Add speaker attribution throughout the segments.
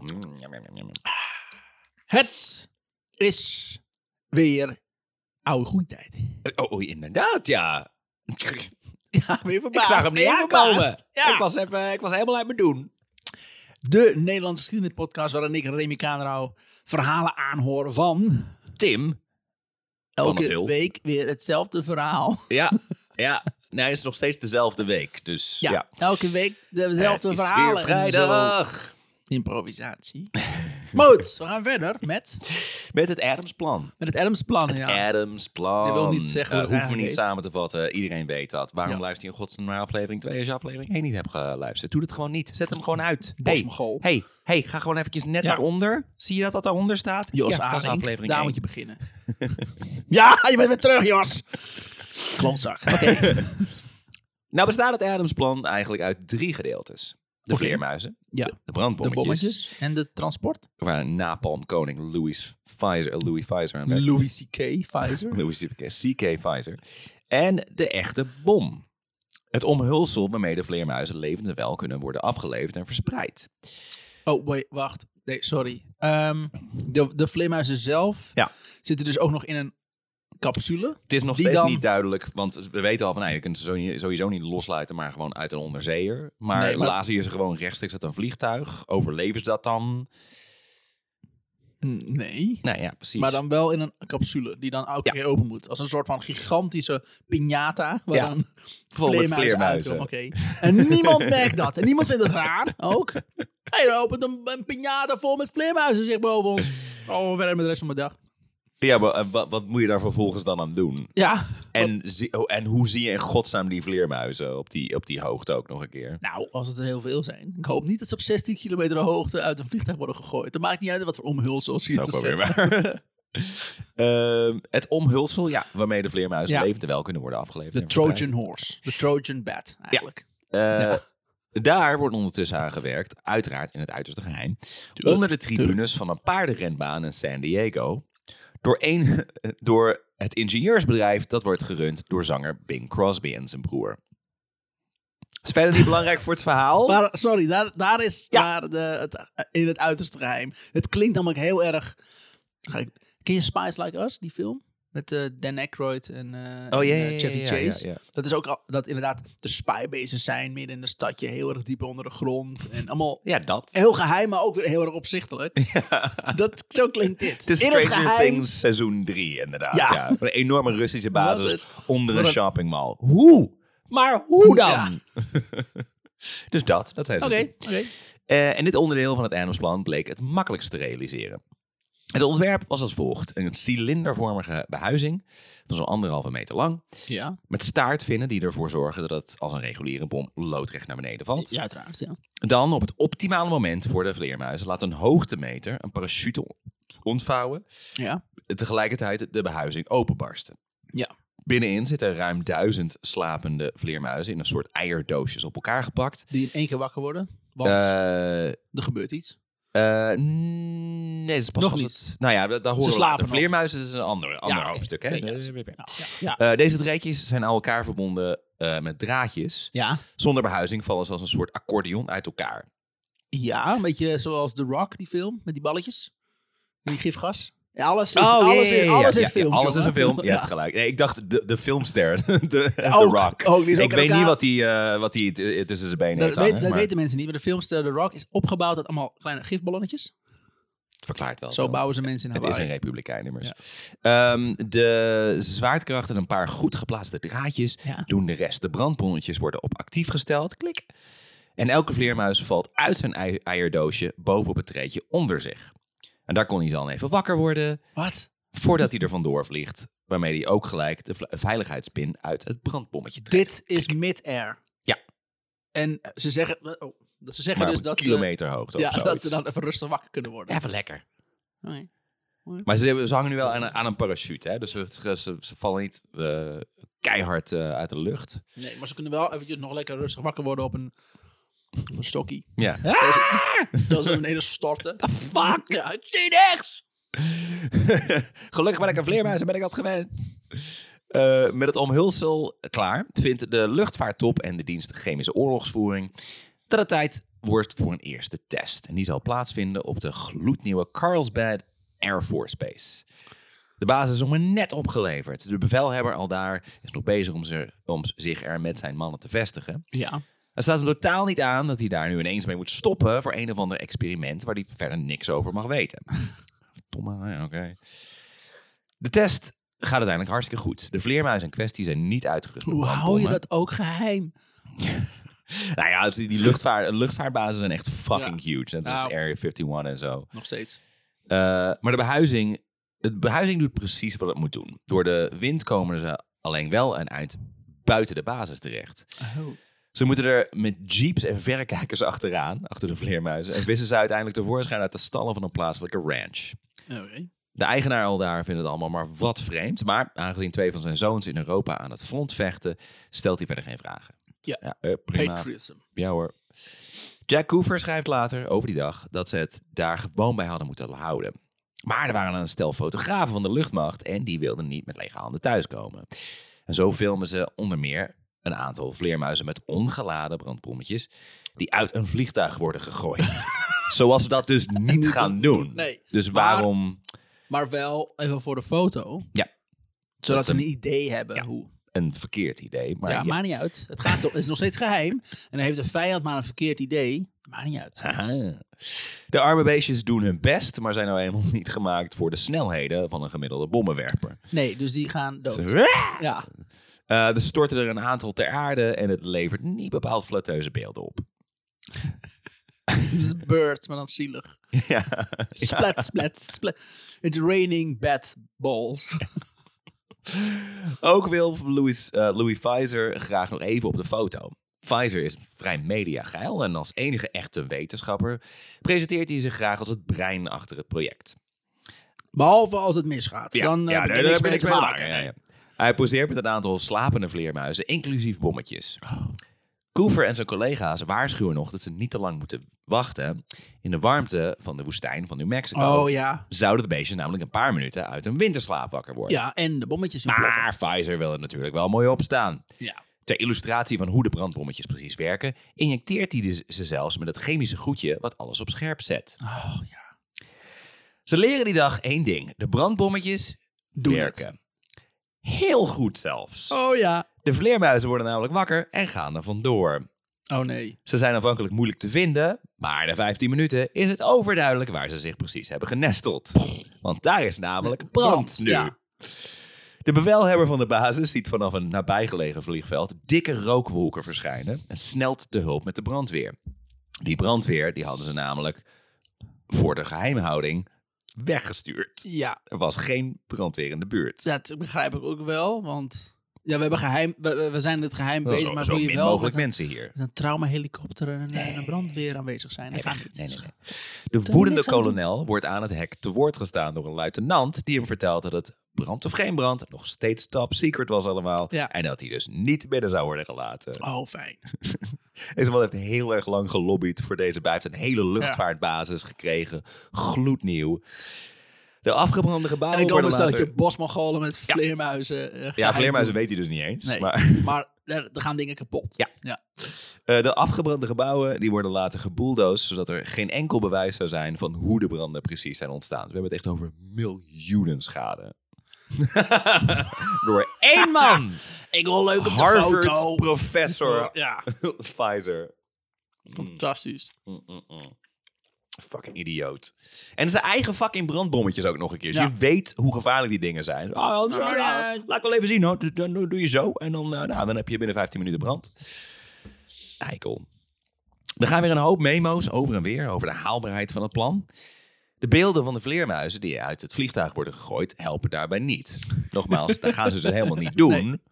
Speaker 1: Mm,
Speaker 2: Het is weer oude groeitijd.
Speaker 1: Oh, oh, inderdaad, ja.
Speaker 2: Ja, weer verbaasd.
Speaker 1: ik zag hem niet
Speaker 2: weer
Speaker 1: aankomen.
Speaker 2: verbaasd. Ja.
Speaker 1: Ik, was even, ik was helemaal uit mijn doen.
Speaker 2: De Nederlandse geschiedenis-podcast waarin ik, Remy Kaanrouw, verhalen aanhoor van...
Speaker 1: Tim. Van het
Speaker 2: Elke
Speaker 1: Heel.
Speaker 2: week weer hetzelfde verhaal.
Speaker 1: Ja, ja. Nee, het is nog steeds dezelfde week. Dus
Speaker 2: Ja,
Speaker 1: ja.
Speaker 2: elke week dezelfde
Speaker 1: Het is
Speaker 2: verhalen.
Speaker 1: weer
Speaker 2: en zo.
Speaker 1: vrijdag.
Speaker 2: Improvisatie. Moot, we gaan verder met,
Speaker 1: Met het Adamsplan.
Speaker 2: met het Adamsplan.
Speaker 1: Het
Speaker 2: ja.
Speaker 1: Adamsplan.
Speaker 2: Dat wil niet zeggen
Speaker 1: Eh,
Speaker 2: hoe het
Speaker 1: hoeven we niet
Speaker 2: eigenlijk heet.
Speaker 1: samen te vatten. Iedereen weet dat. Waarom
Speaker 2: Ja.
Speaker 1: luister je in godsnaam naar aflevering 2 als je aflevering 1 niet hebt geluisterd? Doe dat gewoon niet. Zet hem gewoon uit. Hey,
Speaker 2: Bosmogol.
Speaker 1: hey, hey, ga gewoon eventjes net
Speaker 2: Ja.
Speaker 1: daaronder. Zie je dat dat daaronder staat?
Speaker 2: Jos
Speaker 1: ja, dat is
Speaker 2: Arink,
Speaker 1: aflevering
Speaker 2: daar
Speaker 1: 1.
Speaker 2: moet je beginnen. ja, je bent weer terug, Jos. Klootzak. Oké.
Speaker 1: Nou bestaat het Adamsplan eigenlijk uit drie gedeeltes. De
Speaker 2: Oké.
Speaker 1: vleermuizen,
Speaker 2: Ja.
Speaker 1: de
Speaker 2: De
Speaker 1: brandbommetjes,
Speaker 2: bommetjes en de transport.
Speaker 1: waar napalm koning Louis Pfizer, eh, Louis Pfizer aan werkt.
Speaker 2: Louis C.K. Pfizer.
Speaker 1: Louis C.K. Pfizer. En de echte bom. Het omhulsel waarmee de vleermuizen levend en wel kunnen worden afgeleverd en verspreid.
Speaker 2: Oh, wait, wacht. Nee, sorry. Ehm, de, de vleermuizen zelf
Speaker 1: Ja.
Speaker 2: zitten dus ook nog in een capsule.
Speaker 1: Het is nog
Speaker 2: Die
Speaker 1: steeds
Speaker 2: dan-
Speaker 1: niet duidelijk, want we weten al van, nou, je kunt ze zo niet- sowieso niet losluiten, maar gewoon uit een onderzeeër. Maar,
Speaker 2: Nee, maar-
Speaker 1: lazen je ze gewoon rechtstreeks uit een vliegtuig? Overleven ze dat dan?
Speaker 2: Hm, Nee.
Speaker 1: Nou ja, precies.
Speaker 2: Maar dan wel in een capsule die dan elke
Speaker 1: Ja.
Speaker 2: keer open moet. Als een soort van gigantische piñata. Waar
Speaker 1: Ja.
Speaker 2: dan
Speaker 1: Vol met
Speaker 2: vleermuizen
Speaker 1: vleermuizen.
Speaker 2: uitkomen. Oké. En niemand merkt dat. En niemand vindt het raar ook. Hey, er opent een, een piñata vol met vleermuizen zich boven ons. Oh, verder met de rest van mijn dag.
Speaker 1: Ja, maar eh, wat, wat moet je daar vervolgens dan aan doen?
Speaker 2: Ja.
Speaker 1: En, zie- oh, en hoe zie je in godsnaam die vleermuizen op die, op die hoogte ook nog een keer?
Speaker 2: Nou, als het er heel veel zijn. Ik hoop niet dat ze op 16 kilometer hoogte uit een vliegtuig worden gegooid. Dat maakt niet uit wat voor omhulsel ze
Speaker 1: Dat is
Speaker 2: hier
Speaker 1: ook wel weer
Speaker 2: zetten.
Speaker 1: waar. Ehm, het omhulsel, ja, waarmee de vleermuizen
Speaker 2: Ja.
Speaker 1: levend en wel kunnen worden afgeleverd.
Speaker 2: De
Speaker 1: en verspreid.
Speaker 2: Trojan horse. De Trojan bat, eigenlijk.
Speaker 1: Eh,
Speaker 2: Ja.
Speaker 1: Daar wordt ondertussen aan gewerkt, uiteraard in het uiterste geheim. onder de tribunes van een paardenrenbaan in San Diego. Door, één, door het ingenieursbedrijf dat wordt gerund door zanger Bing Crosby en zijn broer. Is verder niet belangrijk voor het verhaal.
Speaker 2: Maar sorry, daar, daar is
Speaker 1: Ja.
Speaker 2: waar de, het, in het uiterste geheim. Het klinkt namelijk heel erg... Ga ik- Ken je Spice Like Us, die film? Met eh, Dan Aykroyd en, eh,
Speaker 1: Oh, ja,
Speaker 2: en, eh,
Speaker 1: ja, ja,
Speaker 2: Chevy
Speaker 1: ja, ja,
Speaker 2: Chase.
Speaker 1: ja.
Speaker 2: Dat is ook al, dat inderdaad de spybases zijn midden in de stadje. Heel erg diep onder de grond. En allemaal
Speaker 1: ja, dat.
Speaker 2: heel geheim, maar ook weer heel erg opzichtelijk. Dat, zo klinkt dit.
Speaker 1: Het is
Speaker 2: in het
Speaker 1: Stranger
Speaker 2: geheim.
Speaker 1: Things seizoen 3, inderdaad.
Speaker 2: Ja.
Speaker 1: Ja. Een enorme Russische basis
Speaker 2: Basis.
Speaker 1: onder
Speaker 2: Maar
Speaker 1: een
Speaker 2: dat-
Speaker 1: shoppingmall. Hoe? Maar hoe dan?
Speaker 2: Ja.
Speaker 1: dus dat, dat zijn ze.
Speaker 2: Oké,
Speaker 1: natuurlijk.
Speaker 2: oké.
Speaker 1: Eh, en dit onderdeel van het Adamsplan bleek het makkelijkst te realiseren. Het ontwerp was als volgt. Een cilindervormige behuizing van zo'n anderhalve meter lang.
Speaker 2: Ja,
Speaker 1: Met staartvinnen die ervoor zorgen dat het als een reguliere bom loodrecht naar beneden valt.
Speaker 2: ja, uiteraard. Ja.
Speaker 1: Dan op het optimale moment voor de vleermuizen laat een hoogtemeter een parachute ontvouwen
Speaker 2: ja.
Speaker 1: tegelijkertijd de behuizing openbarsten.
Speaker 2: Ja.
Speaker 1: Binnenin zitten ruim duizend slapende vleermuizen in een soort eierdoosjes op elkaar gepakt.
Speaker 2: Die in één keer wakker worden. Want
Speaker 1: Eh, eh,
Speaker 2: er gebeurt iets.
Speaker 1: nee, dat is pas
Speaker 2: Nog
Speaker 1: als
Speaker 2: niet.
Speaker 1: het- nou ja, dat, daar horen we
Speaker 2: slapen
Speaker 1: later.
Speaker 2: nog.
Speaker 1: Vleermuizen is een ander, ander
Speaker 2: oké.
Speaker 1: hoofdstuk. Hè?
Speaker 2: Ja, ja, Ja, ja.
Speaker 1: Eh, deze rijtjes zijn aan elkaar verbonden eh, met draadjes.
Speaker 2: ja.
Speaker 1: Zonder behuizing vallen ze als een soort accordeon uit elkaar.
Speaker 2: Ja, een beetje zoals The Rock, die film, met die balletjes. Die gifgas. Ja, alles is,
Speaker 1: Oh, ja,
Speaker 2: alles
Speaker 1: ja, ja,
Speaker 2: is,
Speaker 1: ja,
Speaker 2: alles
Speaker 1: ja,
Speaker 2: is
Speaker 1: ja,
Speaker 2: film.
Speaker 1: alles is
Speaker 2: jongen.
Speaker 1: een film. Je hebt gelijk. Nee, ik dacht de, de filmster, de, The
Speaker 2: Ook,
Speaker 1: Rock.
Speaker 2: ook, die is ook
Speaker 1: ik
Speaker 2: aan
Speaker 1: weet niet
Speaker 2: elkaar-
Speaker 1: wat die, eh, wat die t- tussen zijn benen
Speaker 2: Dat,
Speaker 1: heeft
Speaker 2: weet,
Speaker 1: hangen,
Speaker 2: dat
Speaker 1: maar
Speaker 2: weten mensen niet, maar de filmster The Rock is opgebouwd uit allemaal kleine gifballonnetjes.
Speaker 1: het verklaart wel.
Speaker 2: Zo
Speaker 1: veel.
Speaker 2: bouwen Nou, ze mensen in
Speaker 1: Oh, Het is
Speaker 2: Hawaii.
Speaker 1: een republikein immers. Ehm, de zwaartekracht en een paar goed geplaatste draadjes
Speaker 2: Ja.
Speaker 1: doen de rest. De brandbonnetjes worden op actief gesteld. Klik. En elke vleermuis valt uit zijn ei- eierdoosje bovenop het treetje onder zich. En daar kon hij dan even wakker worden
Speaker 2: Wat?
Speaker 1: voordat hij er vandoor vliegt. Waarmee hij ook gelijk de vla- veiligheidspin uit het brandbommetje trekt.
Speaker 2: Dit is mid-air.
Speaker 1: Ja.
Speaker 2: En ze zeggen, oh, ze zeggen
Speaker 1: Maar
Speaker 2: dus
Speaker 1: op een
Speaker 2: dat ze,
Speaker 1: kilometer hoogte
Speaker 2: ja,
Speaker 1: of zo.
Speaker 2: dat ze dan even rustig wakker kunnen worden.
Speaker 1: Even lekker.
Speaker 2: Oké.
Speaker 1: Maar ze, hebben- ze hangen nu wel aan, een- aan een parachute. Hè? Dus ze, ze, ze vallen niet eh, keihard eh, uit de lucht.
Speaker 2: Nee, maar ze kunnen wel eventjes nog lekker rustig wakker worden op een, op een stokkie.
Speaker 1: Ja.
Speaker 2: Zoals ze naar beneden storten.
Speaker 1: fuck?
Speaker 2: Ja, ik zie niks!
Speaker 1: Gelukkig ben ik een vleermuis en ben ik dat gewend. Eh, met het omhulsel klaar vindt de luchtvaarttop en de dienst chemische oorlogsvoering dat het tijd wordt voor een eerste test. En die zal plaatsvinden op de gloednieuwe Carlsbad Air Force Base. De basis is nog maar net opgeleverd. De bevelhebber al daar is nog bezig om, ze- om zich er met zijn mannen te vestigen.
Speaker 2: Ja.
Speaker 1: Het staat hem totaal niet aan dat hij daar nu ineens mee moet stoppen voor een of ander experiment waar hij verder niks over mag weten. Domme, nou ja, oké. De test gaat uiteindelijk hartstikke goed. De vleermuizen in kwestie zijn niet uitgerust. met
Speaker 2: Hoe hou je
Speaker 1: brandbommen.
Speaker 2: dat ook geheim?
Speaker 1: Nou ja, die die luchtvaar, luchtvaarbazen zijn echt fucking huge. Net als
Speaker 2: Nou.
Speaker 1: Area 51 en zo.
Speaker 2: Nog steeds.
Speaker 1: Eh, maar de behuizing, het behuizing doet precies wat het moet doen. Door de wind komen ze alleen wel en uit buiten de basis terecht. Ze moeten er met jeeps en verrekijkers achteraan, achter de vleermuizen. En vissen ze uiteindelijk tevoorschijn uit de stallen van een plaatselijke ranch.
Speaker 2: Oké.
Speaker 1: De eigenaar al daar vindt het allemaal maar wat vreemd. Maar aangezien twee van zijn zoons in Europa aan het front vechten, stelt hij verder geen vragen.
Speaker 2: Ja.
Speaker 1: eh, prima.
Speaker 2: Patriotism.
Speaker 1: Ja hoor. Jack Coover schrijft later over die dag dat ze het daar gewoon bij hadden moeten houden. Maar er waren een stel fotografen van de luchtmacht en die wilden niet met lege handen thuiskomen. En zo filmen ze onder meer een aantal vleermuizen met ongeladen brandbommetjes die uit een vliegtuig worden gegooid. Zoals we dat dus niet gaan doen.
Speaker 2: Nee.
Speaker 1: Dus
Speaker 2: Maar-
Speaker 1: waarom...
Speaker 2: Maar wel even voor de foto.
Speaker 1: Ja.
Speaker 2: Zodat ze
Speaker 1: een-
Speaker 2: een idee hebben hoe.
Speaker 1: Een verkeerd idee. Maar
Speaker 2: Ja,
Speaker 1: ja.
Speaker 2: maakt niet uit. Het gaat toch, het is nog steeds geheim. En dan heeft de vijand maar een verkeerd idee. Maakt niet uit.
Speaker 1: Aha. De arme beestjes doen hun best, maar zijn nou eenmaal niet gemaakt voor de snelheden van een gemiddelde bommenwerper.
Speaker 2: Nee, dus die gaan dood. Ja.
Speaker 1: Eh, dus storten er een aantal ter aarde en het levert niet bepaald flatteuze beelden op.
Speaker 2: Dit is birds, maar dan zielig.
Speaker 1: ja.
Speaker 2: Splat, splat, splat. It's raining bad balls.
Speaker 1: Ook wil Louis, eh Louis Pfizer graag nog even op de foto. Pfizer is vrij mediageil en als enige echte wetenschapper presenteert hij zich graag als het brein achter het project.
Speaker 2: Behalve als het misgaat. dan eh, heb
Speaker 1: nee,
Speaker 2: je
Speaker 1: daar
Speaker 2: niks
Speaker 1: heb
Speaker 2: mee
Speaker 1: ik
Speaker 2: te
Speaker 1: niks mee
Speaker 2: maken.
Speaker 1: Ja, ja. Hij poseert met een aantal slapende vleermuizen, inclusief bommetjes. Oh. Coover en zijn collega's waarschuwen nog dat ze niet te lang moeten wachten. In de warmte van de woestijn van New Mexico
Speaker 2: Oh ja.
Speaker 1: zouden de beesten namelijk een paar minuten uit hun winterslaap wakker worden.
Speaker 2: Ja, en de bommetjes in
Speaker 1: Maar Pfizer wil het natuurlijk wel mooi opstaan.
Speaker 2: Ja.
Speaker 1: Ter illustratie van hoe de brandbommetjes precies werken, injecteert hij dus- ze zelfs met het chemische goedje wat alles op scherp zet.
Speaker 2: Oh ja.
Speaker 1: Ze leren die dag één ding: de brandbommetjes
Speaker 2: Doen het.
Speaker 1: werken. Heel goed zelfs.
Speaker 2: Oh ja.
Speaker 1: De vleermuizen worden namelijk wakker en gaan er vandoor.
Speaker 2: Oh nee.
Speaker 1: Ze zijn aanvankelijk moeilijk te vinden, maar na 15 minuten is het overduidelijk waar ze zich precies hebben genesteld. Want daar is namelijk brand nu.
Speaker 2: Ja.
Speaker 1: De bevelhebber van de basis ziet vanaf een nabijgelegen vliegveld dikke rookwolken verschijnen en snelt te hulp met de brandweer. Die brandweer die hadden ze namelijk voor de geheimhouding weggestuurd.
Speaker 2: Ja,
Speaker 1: Er was geen brandweer in de buurt.
Speaker 2: dat begrijp ik ook wel. Want ja, we, hebben geheim, we- we, we zijn in het geheim
Speaker 1: Wel
Speaker 2: bezig,
Speaker 1: Zo,
Speaker 2: maar
Speaker 1: zo
Speaker 2: hoe je
Speaker 1: min
Speaker 2: wel
Speaker 1: mogelijk
Speaker 2: met
Speaker 1: mensen hier.
Speaker 2: een, met een traumahelikopter en een, en een brandweer aanwezig zijn. Dat
Speaker 1: Nee,
Speaker 2: gaat niet.
Speaker 1: nee, nee, nee. De woedende
Speaker 2: niks aan
Speaker 1: kolonel wordt aan het hek te woord gestaan door een luitenant die hem vertelt dat het brand of geen brand nog steeds top secret was allemaal.
Speaker 2: Ja.
Speaker 1: En dat hij dus niet binnen zou worden gelaten.
Speaker 2: Oh, fijn.
Speaker 1: En Isabel heeft heel erg lang gelobbyd voor deze bij. Hij heeft een hele luchtvaartbasis gekregen. Gloednieuw. De afgebrande
Speaker 2: En
Speaker 1: gebouwen
Speaker 2: ik hoop
Speaker 1: worden
Speaker 2: een
Speaker 1: later...
Speaker 2: steltje bosmogolen met vleermuizen. eh,
Speaker 1: Ja,
Speaker 2: geheim
Speaker 1: vleermuizen
Speaker 2: doen.
Speaker 1: weet hij dus niet eens.
Speaker 2: Nee,
Speaker 1: Maar...
Speaker 2: maar, er, er gaan dingen kapot.
Speaker 1: Ja.
Speaker 2: ja.
Speaker 1: Eh, de afgebrande gebouwen die worden later gebulldozed, zodat er geen enkel bewijs zou zijn van hoe de branden precies zijn ontstaan. We hebben het echt over miljoenen schade. Door één man!
Speaker 2: Ik wil leuk op de foto.
Speaker 1: Harvard-professor
Speaker 2: Ja,
Speaker 1: Pfizer. Hmm.
Speaker 2: fantastisch.
Speaker 1: Fucking idioot. En zijn eigen fucking brandbommetjes ook nog een keer. Dus
Speaker 2: Ja.
Speaker 1: je weet hoe gevaarlijk die dingen zijn. Oh, oh,
Speaker 2: Oh, ja.
Speaker 1: Laat ik wel even zien hoor. Dus Dan doe doe je zo. En dan, eh, nou, dan heb je binnen 15 minuten brand. Eikel. Er gaan weer een hoop memo's over en weer over de haalbaarheid van het plan. De beelden van de vleermuizen die uit het vliegtuig worden gegooid, helpen daarbij niet. Nogmaals, dat gaan ze dus helemaal niet doen.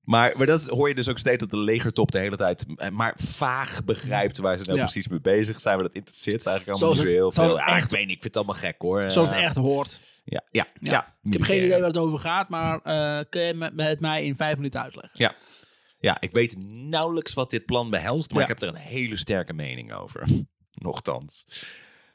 Speaker 1: Maar, maar dat hoor je dus ook steeds dat de legertop de hele tijd eh, maar vaag begrijpt waar ze nou
Speaker 2: Ja.
Speaker 1: precies mee bezig zijn. Maar dat interesseert ze eigenlijk allemaal
Speaker 2: Zoals
Speaker 1: niet zo heel
Speaker 2: het- zoals
Speaker 1: veel.
Speaker 2: het
Speaker 1: Ja, ik
Speaker 2: echt-
Speaker 1: weet niet, ik vind het allemaal gek hoor.
Speaker 2: Zoals het
Speaker 1: Eh,
Speaker 2: echt hoort.
Speaker 1: Ja, ja, ja. eh,
Speaker 2: Ja. Ik heb geen
Speaker 1: militaire.
Speaker 2: idee waar het over gaat, maar eh, kun je me- het mij in vijf minuten uitleggen?
Speaker 1: Ja. ja, ik weet nauwelijks wat dit plan behelst, maar
Speaker 2: Ja.
Speaker 1: ik heb er een hele sterke mening over. Nochtans.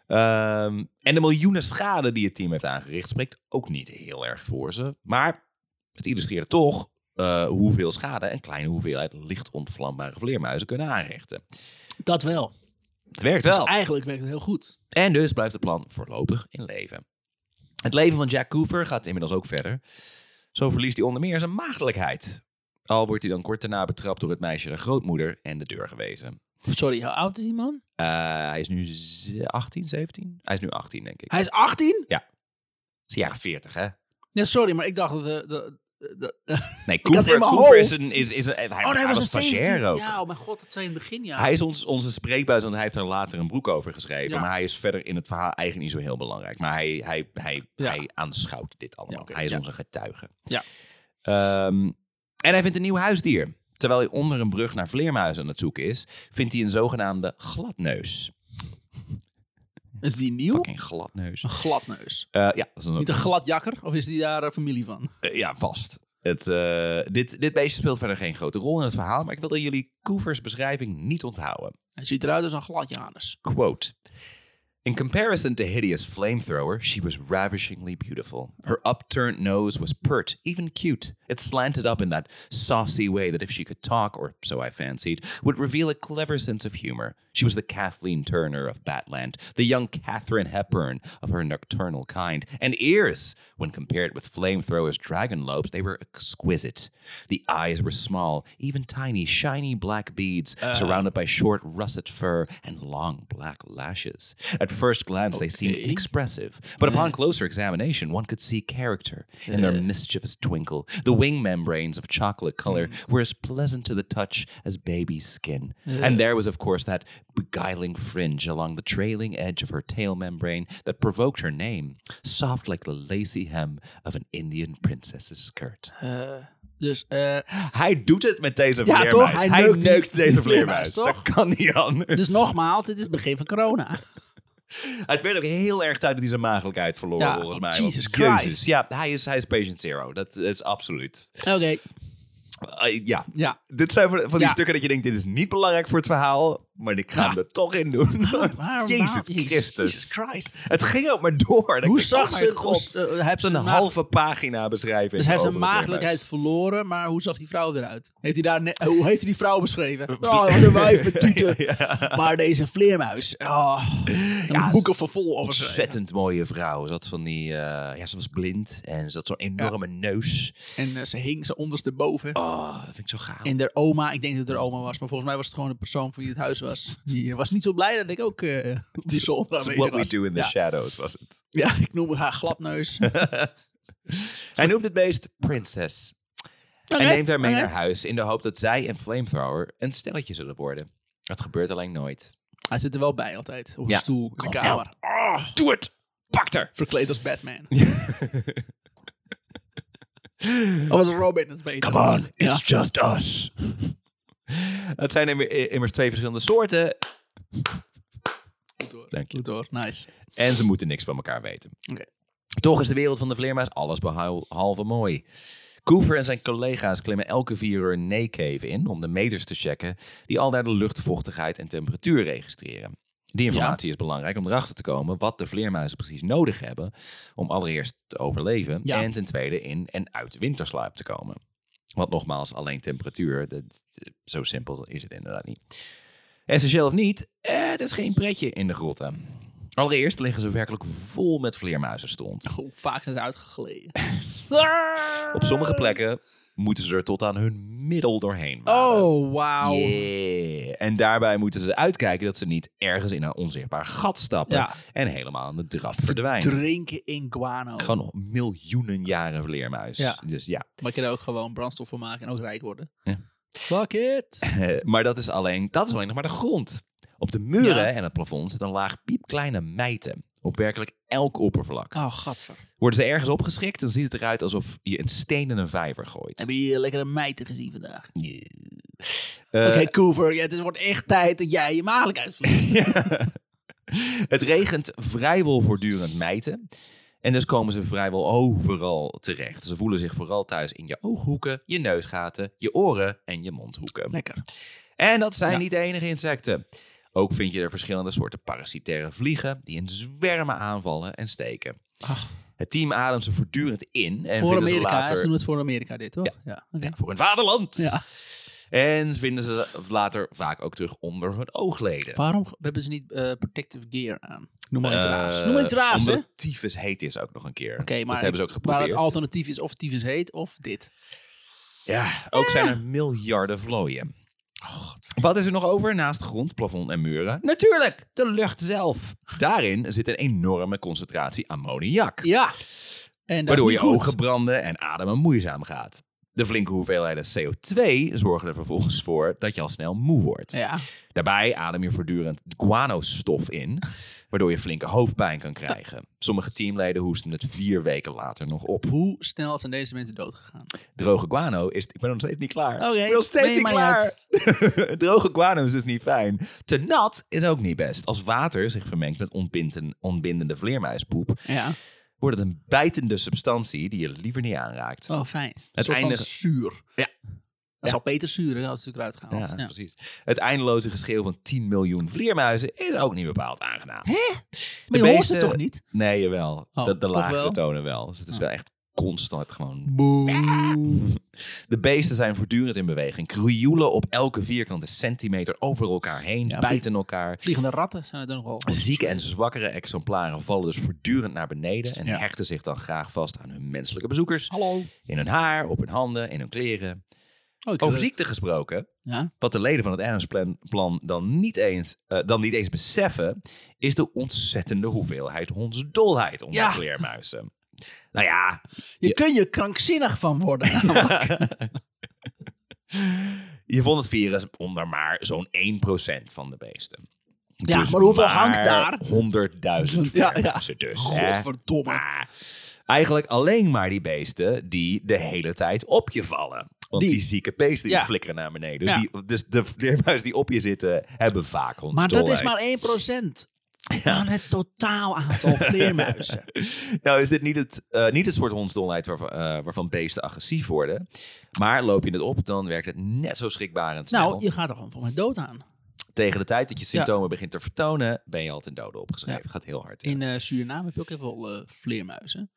Speaker 1: Ehm, en de miljoenen schade die het team heeft aangericht spreekt ook niet heel erg voor ze. Maar het illustreert toch eh, hoeveel schade een kleine hoeveelheid licht ontvlambare vleermuizen kunnen aanrichten.
Speaker 2: Dat wel.
Speaker 1: Het werkt
Speaker 2: Dus
Speaker 1: wel.
Speaker 2: eigenlijk werkt het heel goed.
Speaker 1: En dus blijft het plan voorlopig in leven. Het leven van Jack Cooper gaat inmiddels ook verder. Zo verliest hij onder meer zijn maagdelijkheid. Al wordt hij dan kort daarna betrapt door het meisje de grootmoeder en de deur gewezen.
Speaker 2: Sorry, hoe oud is die man?
Speaker 1: Eh, hij is nu z- 18, 17? Hij is nu 18, denk ik. Hij
Speaker 2: Hij is 18?
Speaker 1: is de jaren 40, hè?
Speaker 2: Ja, sorry, maar ik dacht dat... eh, dat- dat-
Speaker 1: Nee,
Speaker 2: had het
Speaker 1: Cooper,
Speaker 2: in mijn
Speaker 1: Cooper is
Speaker 2: hoofd.
Speaker 1: een... Is, is een hij,
Speaker 2: oh, nee,
Speaker 1: hij
Speaker 2: hij was een
Speaker 1: stagiair
Speaker 2: 17.
Speaker 1: ook.
Speaker 2: Ja, oh mijn god, dat zijn in het begin, ja.
Speaker 1: Hij is ons, onze spreekbuis, want hij heeft er later een boek over geschreven.
Speaker 2: Ja.
Speaker 1: Maar hij is verder in het verhaal eigenlijk niet zo heel belangrijk. Maar hij, hij, hij,
Speaker 2: Ja.
Speaker 1: hij aanschouwt dit allemaal.
Speaker 2: Ja, oké,
Speaker 1: Hij is
Speaker 2: ja.
Speaker 1: onze getuige.
Speaker 2: Ja.
Speaker 1: Ehm, en hij vindt een nieuw huisdier. Terwijl hij onder een brug naar vleermuizen aan het zoeken is, vindt hij een zogenaamde gladneus.
Speaker 2: Is die nieuw?
Speaker 1: Fucking gladneus.
Speaker 2: Een gladneus.
Speaker 1: Eh, ja, dat is een,
Speaker 2: Niet een gladjakker? Of is die daar eh, familie van?
Speaker 1: eh, ja, vast. Het, eh, dit, dit beestje speelt verder geen grote rol in het verhaal, maar ik wilde jullie Coovers beschrijving niet onthouden.
Speaker 2: Hij ziet eruit als een gladjanus.
Speaker 1: Quote In comparison to hideous flamethrower, she was ravishingly beautiful. Her upturned nose was pert, even cute. It slanted up in that saucy way that if she could talk, or so I fancied, would reveal a clever sense of humor. She was the Kathleen Turner of Batland, the young Catherine Hepburn of her nocturnal kind. And ears, when compared with flamethrower's dragon lobes, they were exquisite. The eyes were small, even tiny, shiny black beads surrounded by short russet fur and long black lashes. At first glance, they seemed
Speaker 2: Okay.
Speaker 1: inexpressive, but upon closer examination, one could see character in their mischievous twinkle. The wing membranes of chocolate color were as pleasant to the touch as baby skin. And there was, of course, that beguiling fringe along the trailing edge of her tail membrane that provoked her name, soft like the lacy hem of an Indian princess's skirt.
Speaker 2: Dus, eh,
Speaker 1: Hij doet het met deze
Speaker 2: Ja,
Speaker 1: vleermuis.
Speaker 2: toch? Hij neukt die
Speaker 1: deze vleermuis.
Speaker 2: vleermuis,
Speaker 1: Dat
Speaker 2: toch?
Speaker 1: kan niet anders.
Speaker 2: dus nogmaals, dit is het begin van corona.
Speaker 1: Het werd ook heel erg tijd dat hij zijn maagdelijkheid verloor,
Speaker 2: Ja,
Speaker 1: volgens mij.
Speaker 2: Jesus
Speaker 1: Want,
Speaker 2: Christ.
Speaker 1: Ja, hij is, hij is patient zero. Dat is absoluut.
Speaker 2: Oké,
Speaker 1: Eh, ja.
Speaker 2: ja.
Speaker 1: Dit zijn van, van die
Speaker 2: Ja.
Speaker 1: stukken dat je denkt, dit is niet belangrijk voor het verhaal, maar ik ga
Speaker 2: Ja.
Speaker 1: hem er toch in doen.
Speaker 2: Waarom-
Speaker 1: Jezus
Speaker 2: waarom- Jezus-
Speaker 1: Christus.
Speaker 2: Jezus Christ.
Speaker 1: Het ging ook maar door.
Speaker 2: Hoe zag ze het?
Speaker 1: God,
Speaker 2: Eh, hij heeft
Speaker 1: Zo'n
Speaker 2: zijn maag-
Speaker 1: halve pagina beschrijving.
Speaker 2: Dus hij heeft
Speaker 1: over de
Speaker 2: zijn
Speaker 1: vleermuis.
Speaker 2: maagdelijkheid verloren, maar hoe zag die vrouw eruit? Heeft hij daar ne- eh, hoe heeft hij die vrouw beschreven? Oh,
Speaker 1: vlie-
Speaker 2: dat was een wijf met tieten.
Speaker 1: Ja.
Speaker 2: Maar deze vleermuis. Oh,
Speaker 1: Ja,
Speaker 2: ja, boeken voor vol over zijn.
Speaker 1: Ontzettend mooie vrouw. Ze had van die, eh, ja, ze was blind en ze had zo'n enorme neus.
Speaker 2: En eh, ze hing ze ondersteboven.
Speaker 1: Oh, dat vind ik zo gaaf.
Speaker 2: En haar oma, ik denk dat het haar oma was, maar volgens mij was het gewoon de persoon van wie het huis was. Die eh, was niet zo blij dat ik ook eh, op die zolder
Speaker 1: That's
Speaker 2: aanwezig
Speaker 1: what we
Speaker 2: was.
Speaker 1: do in the
Speaker 2: ja.
Speaker 1: shadows, was het.
Speaker 2: ja, ik noem haar gladneus.
Speaker 1: Hij noemt het beest Princess. En neemt haar mee naar huis in de hoop dat zij en Flamethrower een stelletje zullen worden. Dat gebeurt alleen nooit.
Speaker 2: Hij zit er wel bij altijd, op
Speaker 1: Ja.
Speaker 2: een stoel, in de
Speaker 1: Kom,
Speaker 2: kamer.
Speaker 1: Ah, doe het! Pak haar!
Speaker 2: Verkleed als Batman. Of Oh, als Robin, dat is beter.
Speaker 1: Come on,
Speaker 2: Ja.
Speaker 1: it's just us. Het zijn immer- immers twee verschillende soorten
Speaker 2: Goed hoor.
Speaker 1: Dank je.
Speaker 2: Goed hoor, nice.
Speaker 1: en ze moeten niks van elkaar weten.
Speaker 2: Oké.
Speaker 1: Toch is de wereld van de vleermuis alles behalve mooi. Coover en zijn collega's klimmen elke vier uur een Naycave in om de meters te checken die al daar de luchtvochtigheid en temperatuur registreren. Die informatie is belangrijk om erachter te komen wat de vleermuizen precies nodig hebben om allereerst te overleven
Speaker 2: Ja.
Speaker 1: en ten tweede in en uit winterslaap te komen. Want nogmaals, alleen temperatuur, dat, zo simpel is het inderdaad niet. Essentieel of niet, eh, het is geen pretje in de grotten. Allereerst liggen ze werkelijk vol met vleermuizen stond.
Speaker 2: Goh, vaak zijn ze uitgegleden.
Speaker 1: Op sommige plekken moeten ze er tot aan hun middel doorheen waden.
Speaker 2: Oh, wauw.
Speaker 1: Yeah. En daarbij moeten ze uitkijken dat ze niet ergens in een onzichtbaar gat stappen
Speaker 2: Ja.
Speaker 1: en helemaal aan de draf verdwijnen.
Speaker 2: Drinken in guano.
Speaker 1: Gewoon miljoenen jaren vleermuis.
Speaker 2: Ja.
Speaker 1: Dus ja.
Speaker 2: Maar je kan er ook gewoon brandstof van maken en ook rijk worden.
Speaker 1: Ja.
Speaker 2: Fuck it.
Speaker 1: Eh, maar dat is, alleen, dat is alleen nog maar de grond. Op de muren
Speaker 2: Ja.
Speaker 1: en het plafond zit een laag piepkleine mijten. Op werkelijk elk oppervlak.
Speaker 2: Oh, gadver.
Speaker 1: Worden ze ergens opgeschikt, dan ziet het eruit alsof je een steen in een vijver gooit.
Speaker 2: Heb je hier lekkere mijten gezien vandaag?
Speaker 1: Eh,
Speaker 2: Oké, Coover, ja, het wordt echt tijd dat jij je maagdelijkheid verliest.
Speaker 1: Het regent vrijwel voortdurend mijten. En dus komen ze vrijwel overal terecht. Ze voelen zich vooral thuis in je ooghoeken, je neusgaten, je oren en je mondhoeken.
Speaker 2: Lekker.
Speaker 1: En dat zijn
Speaker 2: Ja.
Speaker 1: niet de enige insecten. Ook vind je er verschillende soorten parasitaire vliegen die in zwermen aanvallen en steken.
Speaker 2: Ach.
Speaker 1: Het team ademt ze voortdurend in en
Speaker 2: voor
Speaker 1: Ah. vinden ze
Speaker 2: Amerika,
Speaker 1: later
Speaker 2: ze doen het voor Amerika dit, toch? Ja. oké.
Speaker 1: voor hun vaderland.
Speaker 2: Ja.
Speaker 1: En vinden ze later vaak ook terug onder hun oogleden.
Speaker 2: Waarom ge- hebben ze niet eh, protective gear aan? Noem maar iets
Speaker 1: Eh,
Speaker 2: raars. Noem maar iets raars, hè?
Speaker 1: Omdat
Speaker 2: Oké,
Speaker 1: tyfus heet is ook nog een keer.
Speaker 2: maar,
Speaker 1: dat hebben ze ook
Speaker 2: maar
Speaker 1: geprobeerd.
Speaker 2: het alternatief is of tyfus heet of dit.
Speaker 1: Ja, ook zijn er miljarden vlooien.
Speaker 2: Oh,
Speaker 1: Wat is er nog over naast grond, plafond en muren? Natuurlijk, de lucht zelf. Daarin zit een enorme concentratie ammoniak.
Speaker 2: Ja. En dat
Speaker 1: waardoor
Speaker 2: is
Speaker 1: je
Speaker 2: niet goed.
Speaker 1: ogen branden en ademen moeizaam gaat. De flinke hoeveelheden CO2 zorgen er vervolgens voor dat je al snel moe wordt.
Speaker 2: Ja.
Speaker 1: Daarbij adem je voortdurend guano-stof in, waardoor je flinke hoofdpijn kan krijgen. Sommige teamleden hoesten het vier weken later nog op.
Speaker 2: Hoe snel zijn deze mensen doodgegaan?
Speaker 1: Droge guano is... Ik ben nog steeds niet klaar.
Speaker 2: Oké,
Speaker 1: ik ben nog steeds
Speaker 2: nee,
Speaker 1: niet
Speaker 2: maar
Speaker 1: klaar. Droge guano is dus niet fijn. Te nat is ook niet best. Als water zich vermengt met ontbinten- ontbindende vleermuispoep,
Speaker 2: Ja.
Speaker 1: wordt het een bijtende substantie die je liever niet aanraakt.
Speaker 2: Oh, fijn. Een
Speaker 1: Het
Speaker 2: soort van
Speaker 1: eindige-
Speaker 2: zuur.
Speaker 1: Ja.
Speaker 2: Dat zal Peter zuur, hè, als het eruit gaat.
Speaker 1: Ja, precies. Het eindeloze geschreeuw van 10 miljoen vleermuizen is ook niet bepaald aangenaam.
Speaker 2: Maar
Speaker 1: De
Speaker 2: je hoort het
Speaker 1: beesten-
Speaker 2: toch niet?
Speaker 1: Nee, jawel.
Speaker 2: Oh,
Speaker 1: de de
Speaker 2: toch
Speaker 1: lagere
Speaker 2: wel? Oh.
Speaker 1: tonen wel. Dus het is wel echt constant gewoon...
Speaker 2: Boe.
Speaker 1: De beesten zijn voortdurend in beweging. Krioelen op elke vierkante centimeter over elkaar heen.
Speaker 2: Ja,
Speaker 1: bijten elkaar.
Speaker 2: Vliegende ratten zijn het dan nogal.
Speaker 1: Zieke en zwakkere exemplaren vallen dus voortdurend naar beneden. En
Speaker 2: Ja.
Speaker 1: hechten zich dan graag vast aan hun menselijke bezoekers.
Speaker 2: Hallo.
Speaker 1: In hun haar, op hun handen, in hun kleren.
Speaker 2: Oh, ik
Speaker 1: Over ziekte gesproken.
Speaker 2: Ja.
Speaker 1: Wat de leden van het Adamsplan plan dan, niet eens, eh, dan niet eens beseffen, is de ontzettende hoeveelheid hondsdolheid onder
Speaker 2: Ja.
Speaker 1: vleermuizen. Nou ja,
Speaker 2: Je kunt je krankzinnig van worden.
Speaker 1: je vond het virus onder maar zo'n 1% van de beesten.
Speaker 2: ja,
Speaker 1: Dus
Speaker 2: maar hoeveel hangt daar?
Speaker 1: 100.000
Speaker 2: Ja, ja.
Speaker 1: vleermuizen dus. hè?
Speaker 2: Godverdomme.
Speaker 1: Maar eigenlijk alleen maar die beesten die de hele tijd op je vallen. Want die,
Speaker 2: Die.
Speaker 1: zieke beesten die
Speaker 2: Ja.
Speaker 1: flikkeren naar beneden. Dus,
Speaker 2: Ja.
Speaker 1: die, dus de vleermuizen die op je zitten, hebben vaak
Speaker 2: Maar
Speaker 1: hondsdolheid.
Speaker 2: dat is maar 1% van het totaal aantal vleermuizen.
Speaker 1: Nou is dit niet het, eh, niet het soort hondsdolheid waarvan, eh, waarvan beesten agressief worden. Maar loop je het op, dan werkt het net zo schrikbarend snel.
Speaker 2: nou, je gaat er gewoon voor mij dood aan.
Speaker 1: Tegen de tijd dat je symptomen begint te vertonen, ben je al ten dode opgeschreven. Gaat heel hard. hè?
Speaker 2: In eh, Suriname heb je ook heel veel eh, vleermuizen.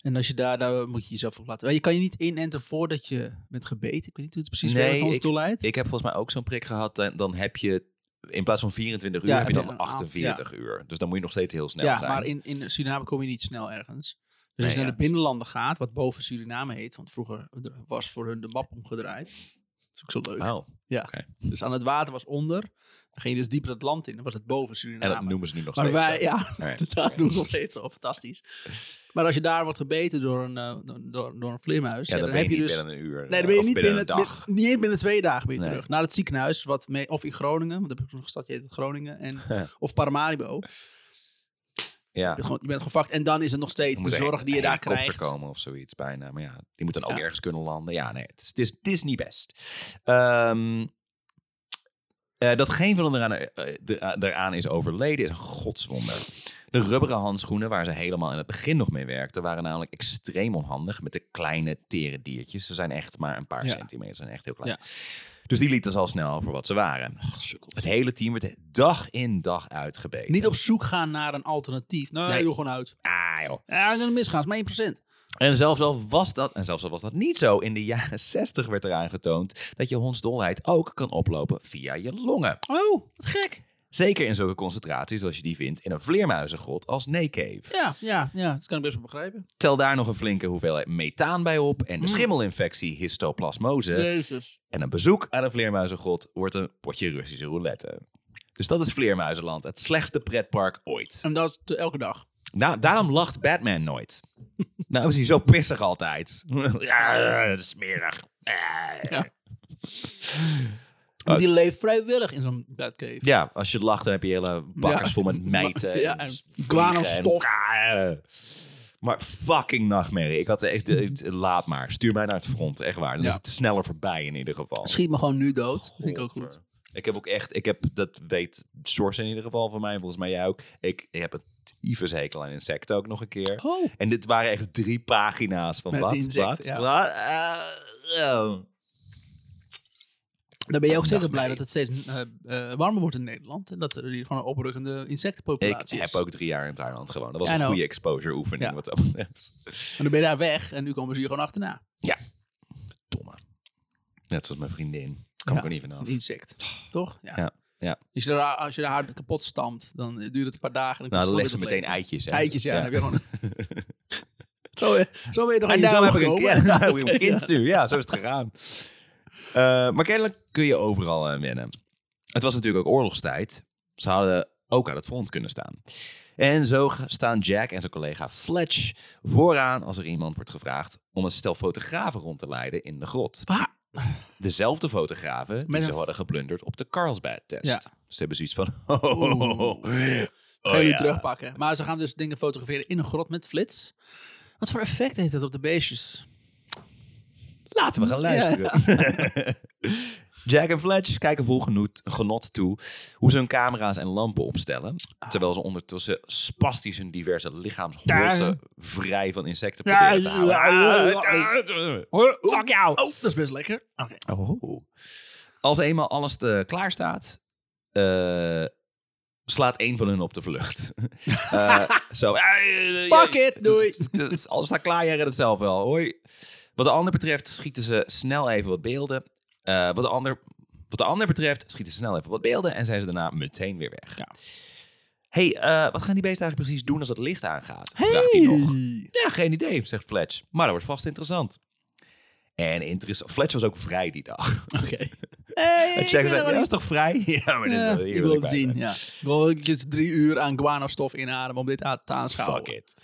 Speaker 2: En als je daar, daar moet je jezelf op laten. Maar Je kan je niet inenten voordat je bent gebeten. Ik weet niet hoe het precies
Speaker 1: Nee,
Speaker 2: werkt,
Speaker 1: ik-
Speaker 2: hondsdolheid.
Speaker 1: Ik heb volgens mij ook zo'n prik gehad. En dan heb je, in plaats van 24 uur,
Speaker 2: Ja,
Speaker 1: heb je
Speaker 2: heb je
Speaker 1: dan
Speaker 2: een aantal-
Speaker 1: 48 uur. Dus dan moet je nog steeds heel snel
Speaker 2: Ja,
Speaker 1: zijn.
Speaker 2: maar in, in Suriname kom je niet snel ergens. Dus
Speaker 1: Nee,
Speaker 2: als je naar
Speaker 1: ja.
Speaker 2: de binnenlanden gaat, wat boven Suriname heet, want vroeger was voor hun de map omgedraaid. Dat is ook zo leuk.
Speaker 1: Wauw.
Speaker 2: Ja.
Speaker 1: oké.
Speaker 2: Dus aan het water was onder. Dan ging je dus dieper het land in. Dan was het boven
Speaker 1: En
Speaker 2: Suriname.
Speaker 1: dat noemen ze nu nog
Speaker 2: maar
Speaker 1: steeds.
Speaker 2: wij,
Speaker 1: zo.
Speaker 2: ja,
Speaker 1: Nee.
Speaker 2: dat doen ze nog steeds zo. Fantastisch. Maar als je daar wordt gebeten door een, eh, door- door, door een vleermuis,
Speaker 1: Ja,
Speaker 2: ja,
Speaker 1: dan,
Speaker 2: dan,
Speaker 1: ben je
Speaker 2: heb je
Speaker 1: niet
Speaker 2: dus...
Speaker 1: binnen een uur.
Speaker 2: Nee, dan
Speaker 1: eh,
Speaker 2: ben je
Speaker 1: of
Speaker 2: niet binnen,
Speaker 1: een dag.
Speaker 2: bi- niet eens binnen twee dagen ben je
Speaker 1: Nee.
Speaker 2: terug. Naar het ziekenhuis, wat mee, of in Groningen, want dan heb ik nog een stadje heet Groningen, en,
Speaker 1: Ja.
Speaker 2: of Paramaribo.
Speaker 1: Ja.
Speaker 2: Je bent gewoon, je bent gevakt. En dan is het nog steeds
Speaker 1: Er
Speaker 2: de
Speaker 1: moet
Speaker 2: zorg
Speaker 1: een-
Speaker 2: die je
Speaker 1: een
Speaker 2: daar
Speaker 1: helikopter
Speaker 2: krijgt.
Speaker 1: komen of zoiets bijna. Maar ja, die moet dan ook
Speaker 2: Ja.
Speaker 1: ergens kunnen landen. Ja, nee, het is, het is, het is niet best. Ehm, eh, dat geen van hen eraan, eh, dera- daaraan is overleden is een godswonder. De rubberen handschoenen waar ze helemaal in het begin nog mee werkten... waren namelijk extreem onhandig met de kleine tere diertjes. Ze zijn echt maar een paar
Speaker 2: Ja.
Speaker 1: centimeter, ze zijn echt heel klein. Dus die lieten ze al snel voor wat ze waren. Het hele team werd dag in dag uit gebeten.
Speaker 2: Niet op zoek gaan naar een alternatief. Nee,
Speaker 1: Nee.
Speaker 2: joh, gewoon uit.
Speaker 1: Ah joh.
Speaker 2: Ja, dan misgaan. Het is maar 1%.
Speaker 1: En zelfs al was dat, en zelfs al was dat niet zo, in de jaren 60 werd er aangetoond dat je hondsdolheid ook kan oplopen via je longen.
Speaker 2: Oh, wat gek.
Speaker 1: Zeker in zulke concentraties als je die vindt in een vleermuizengrot als Nekeef.
Speaker 2: Ja, ja, ja. Dat kan ik best wel begrijpen.
Speaker 1: Tel daar nog een flinke hoeveelheid methaan bij op en de schimmelinfectie histoplasmose.
Speaker 2: Jezus.
Speaker 1: En een bezoek aan een vleermuizengrot wordt een potje Russische roulette. Dus dat is Vleermuizenland, het slechtste pretpark ooit.
Speaker 2: En dat te- elke dag.
Speaker 1: Nou, daarom lacht Batman nooit. nou is hij zo pissig altijd. ja, smerig. Ah.
Speaker 2: Ja.
Speaker 1: Oh.
Speaker 2: Maar Die leeft vrijwillig in zo'n batcave.
Speaker 1: Ja, als je lacht, dan heb je hele bakkers
Speaker 2: Ja.
Speaker 1: vol met mijten.
Speaker 2: Ja, en
Speaker 1: vliegen
Speaker 2: guano-stof.
Speaker 1: en- Maar fucking nachtmerrie. Ik had echt... eh, Laat maar. Stuur mij naar het front. Echt waar. Dan
Speaker 2: Ja.
Speaker 1: is het sneller voorbij in ieder geval.
Speaker 2: Schiet me gewoon nu dood. Vind ik ook goed.
Speaker 1: Ik heb ook echt... Ik heb... Dat weet Source in ieder geval van mij. Volgens mij jij ook. Ik, ik heb een tyfushekel aan insecten ook nog een keer.
Speaker 2: Oh.
Speaker 1: En dit waren echt drie pagina's van
Speaker 2: Met
Speaker 1: wat,
Speaker 2: insecten,
Speaker 1: wat,
Speaker 2: ja.
Speaker 1: wat. eh, eh.
Speaker 2: Dan ben je ook zeker
Speaker 1: Dag,
Speaker 2: blij
Speaker 1: nee.
Speaker 2: dat het steeds eh, eh, warmer wordt in Nederland. En dat er hier gewoon een oprukkende
Speaker 1: Ik
Speaker 2: insectenpopulatie is.
Speaker 1: heb ook drie jaar in Thailand gewoond. Dat was
Speaker 2: Ja,
Speaker 1: een
Speaker 2: nou.
Speaker 1: goede exposure oefening.
Speaker 2: Ja.
Speaker 1: Wat dat betreft.
Speaker 2: En dan ben je daar weg en nu komen ze hier gewoon achterna.
Speaker 1: Domme. Net zoals mijn vriendin. Kom
Speaker 2: Ja.
Speaker 1: ik er niet vanaf. Nou,
Speaker 2: Een insect. Toch? Ja.
Speaker 1: Ja, ja.
Speaker 2: Als, je de haar, als je de haar kapot stampt, dan duurt het een paar dagen. En
Speaker 1: Nou, dan
Speaker 2: komt
Speaker 1: leggen
Speaker 2: het
Speaker 1: ze meteen
Speaker 2: weer tot leven.
Speaker 1: eitjes. hè?
Speaker 2: Eitjes, ja. Dan heb je gewoon... zo, zo ben je toch aan
Speaker 1: En
Speaker 2: je
Speaker 1: daarom
Speaker 2: zoon
Speaker 1: heb ik een,
Speaker 2: gekomen?
Speaker 1: ja, daarom heb ik een
Speaker 2: Oké,
Speaker 1: kind nu. Ja, zo is het gegaan. Eh, maar kennelijk kun je overal eh, wennen. Het was natuurlijk ook oorlogstijd. Ze hadden ook aan het front kunnen staan. En zo g- staan Jack en zijn collega Fletch vooraan als er iemand wordt gevraagd om een stel fotografen rond te leiden in de grot.
Speaker 2: Waar?
Speaker 1: Dezelfde fotografen die
Speaker 2: Met
Speaker 1: ze
Speaker 2: een-
Speaker 1: hadden geplunderd op de Carlsbad-test.
Speaker 2: Ja.
Speaker 1: Ze hebben zoiets van... Oh,
Speaker 2: Gaan jullie
Speaker 1: ja.
Speaker 2: terugpakken. Maar ze gaan dus dingen fotograferen in een grot met flits. Wat voor effect heeft dat op de beestjes?
Speaker 1: Laten we gaan luisteren. Jack en Fletch kijken vol genoet, genot toe hoe ze hun camera's en lampen opstellen. Terwijl ze ondertussen spastisch hun diverse lichaamsholten vrij van insecten proberen te Ah, houden. Fuck jou!
Speaker 2: Oh, dat is best lekker. Oké.
Speaker 1: Oh. Als eenmaal alles te, klaar staat, eh, slaat een van hun op de vlucht. Eh, zo.
Speaker 2: Fuck it, doei.
Speaker 1: Het- Alles staat klaar, jij redt het zelf wel. Hoi. Wat de ander betreft schieten ze snel even wat beelden. Eh, wat, de ander, wat de ander betreft schieten ze snel even wat beelden en zijn ze daarna meteen weer weg.
Speaker 2: Ja.
Speaker 1: hey, eh, wat gaan die beesten eigenlijk precies doen als het licht aangaat? Vraagt hij nog. Ja, geen idee, zegt Fletch. Maar dat wordt vast interessant. En interessant. Fletch was ook vrij die dag.
Speaker 2: Oké. Hey,
Speaker 1: En
Speaker 2: ik
Speaker 1: Jack
Speaker 2: ben
Speaker 1: zei,
Speaker 2: er wel
Speaker 1: ja,
Speaker 2: in.
Speaker 1: is toch vrij? Ja, maar dit
Speaker 2: Ja,
Speaker 1: wil- hier
Speaker 2: ik
Speaker 1: wil
Speaker 2: wil
Speaker 1: ik
Speaker 2: het
Speaker 1: bij
Speaker 2: zien,
Speaker 1: zijn.
Speaker 2: ja. Ik wil eventjes drie uur aan guano-stof inademen om dit aan te aanschouwen.
Speaker 1: Fuck it.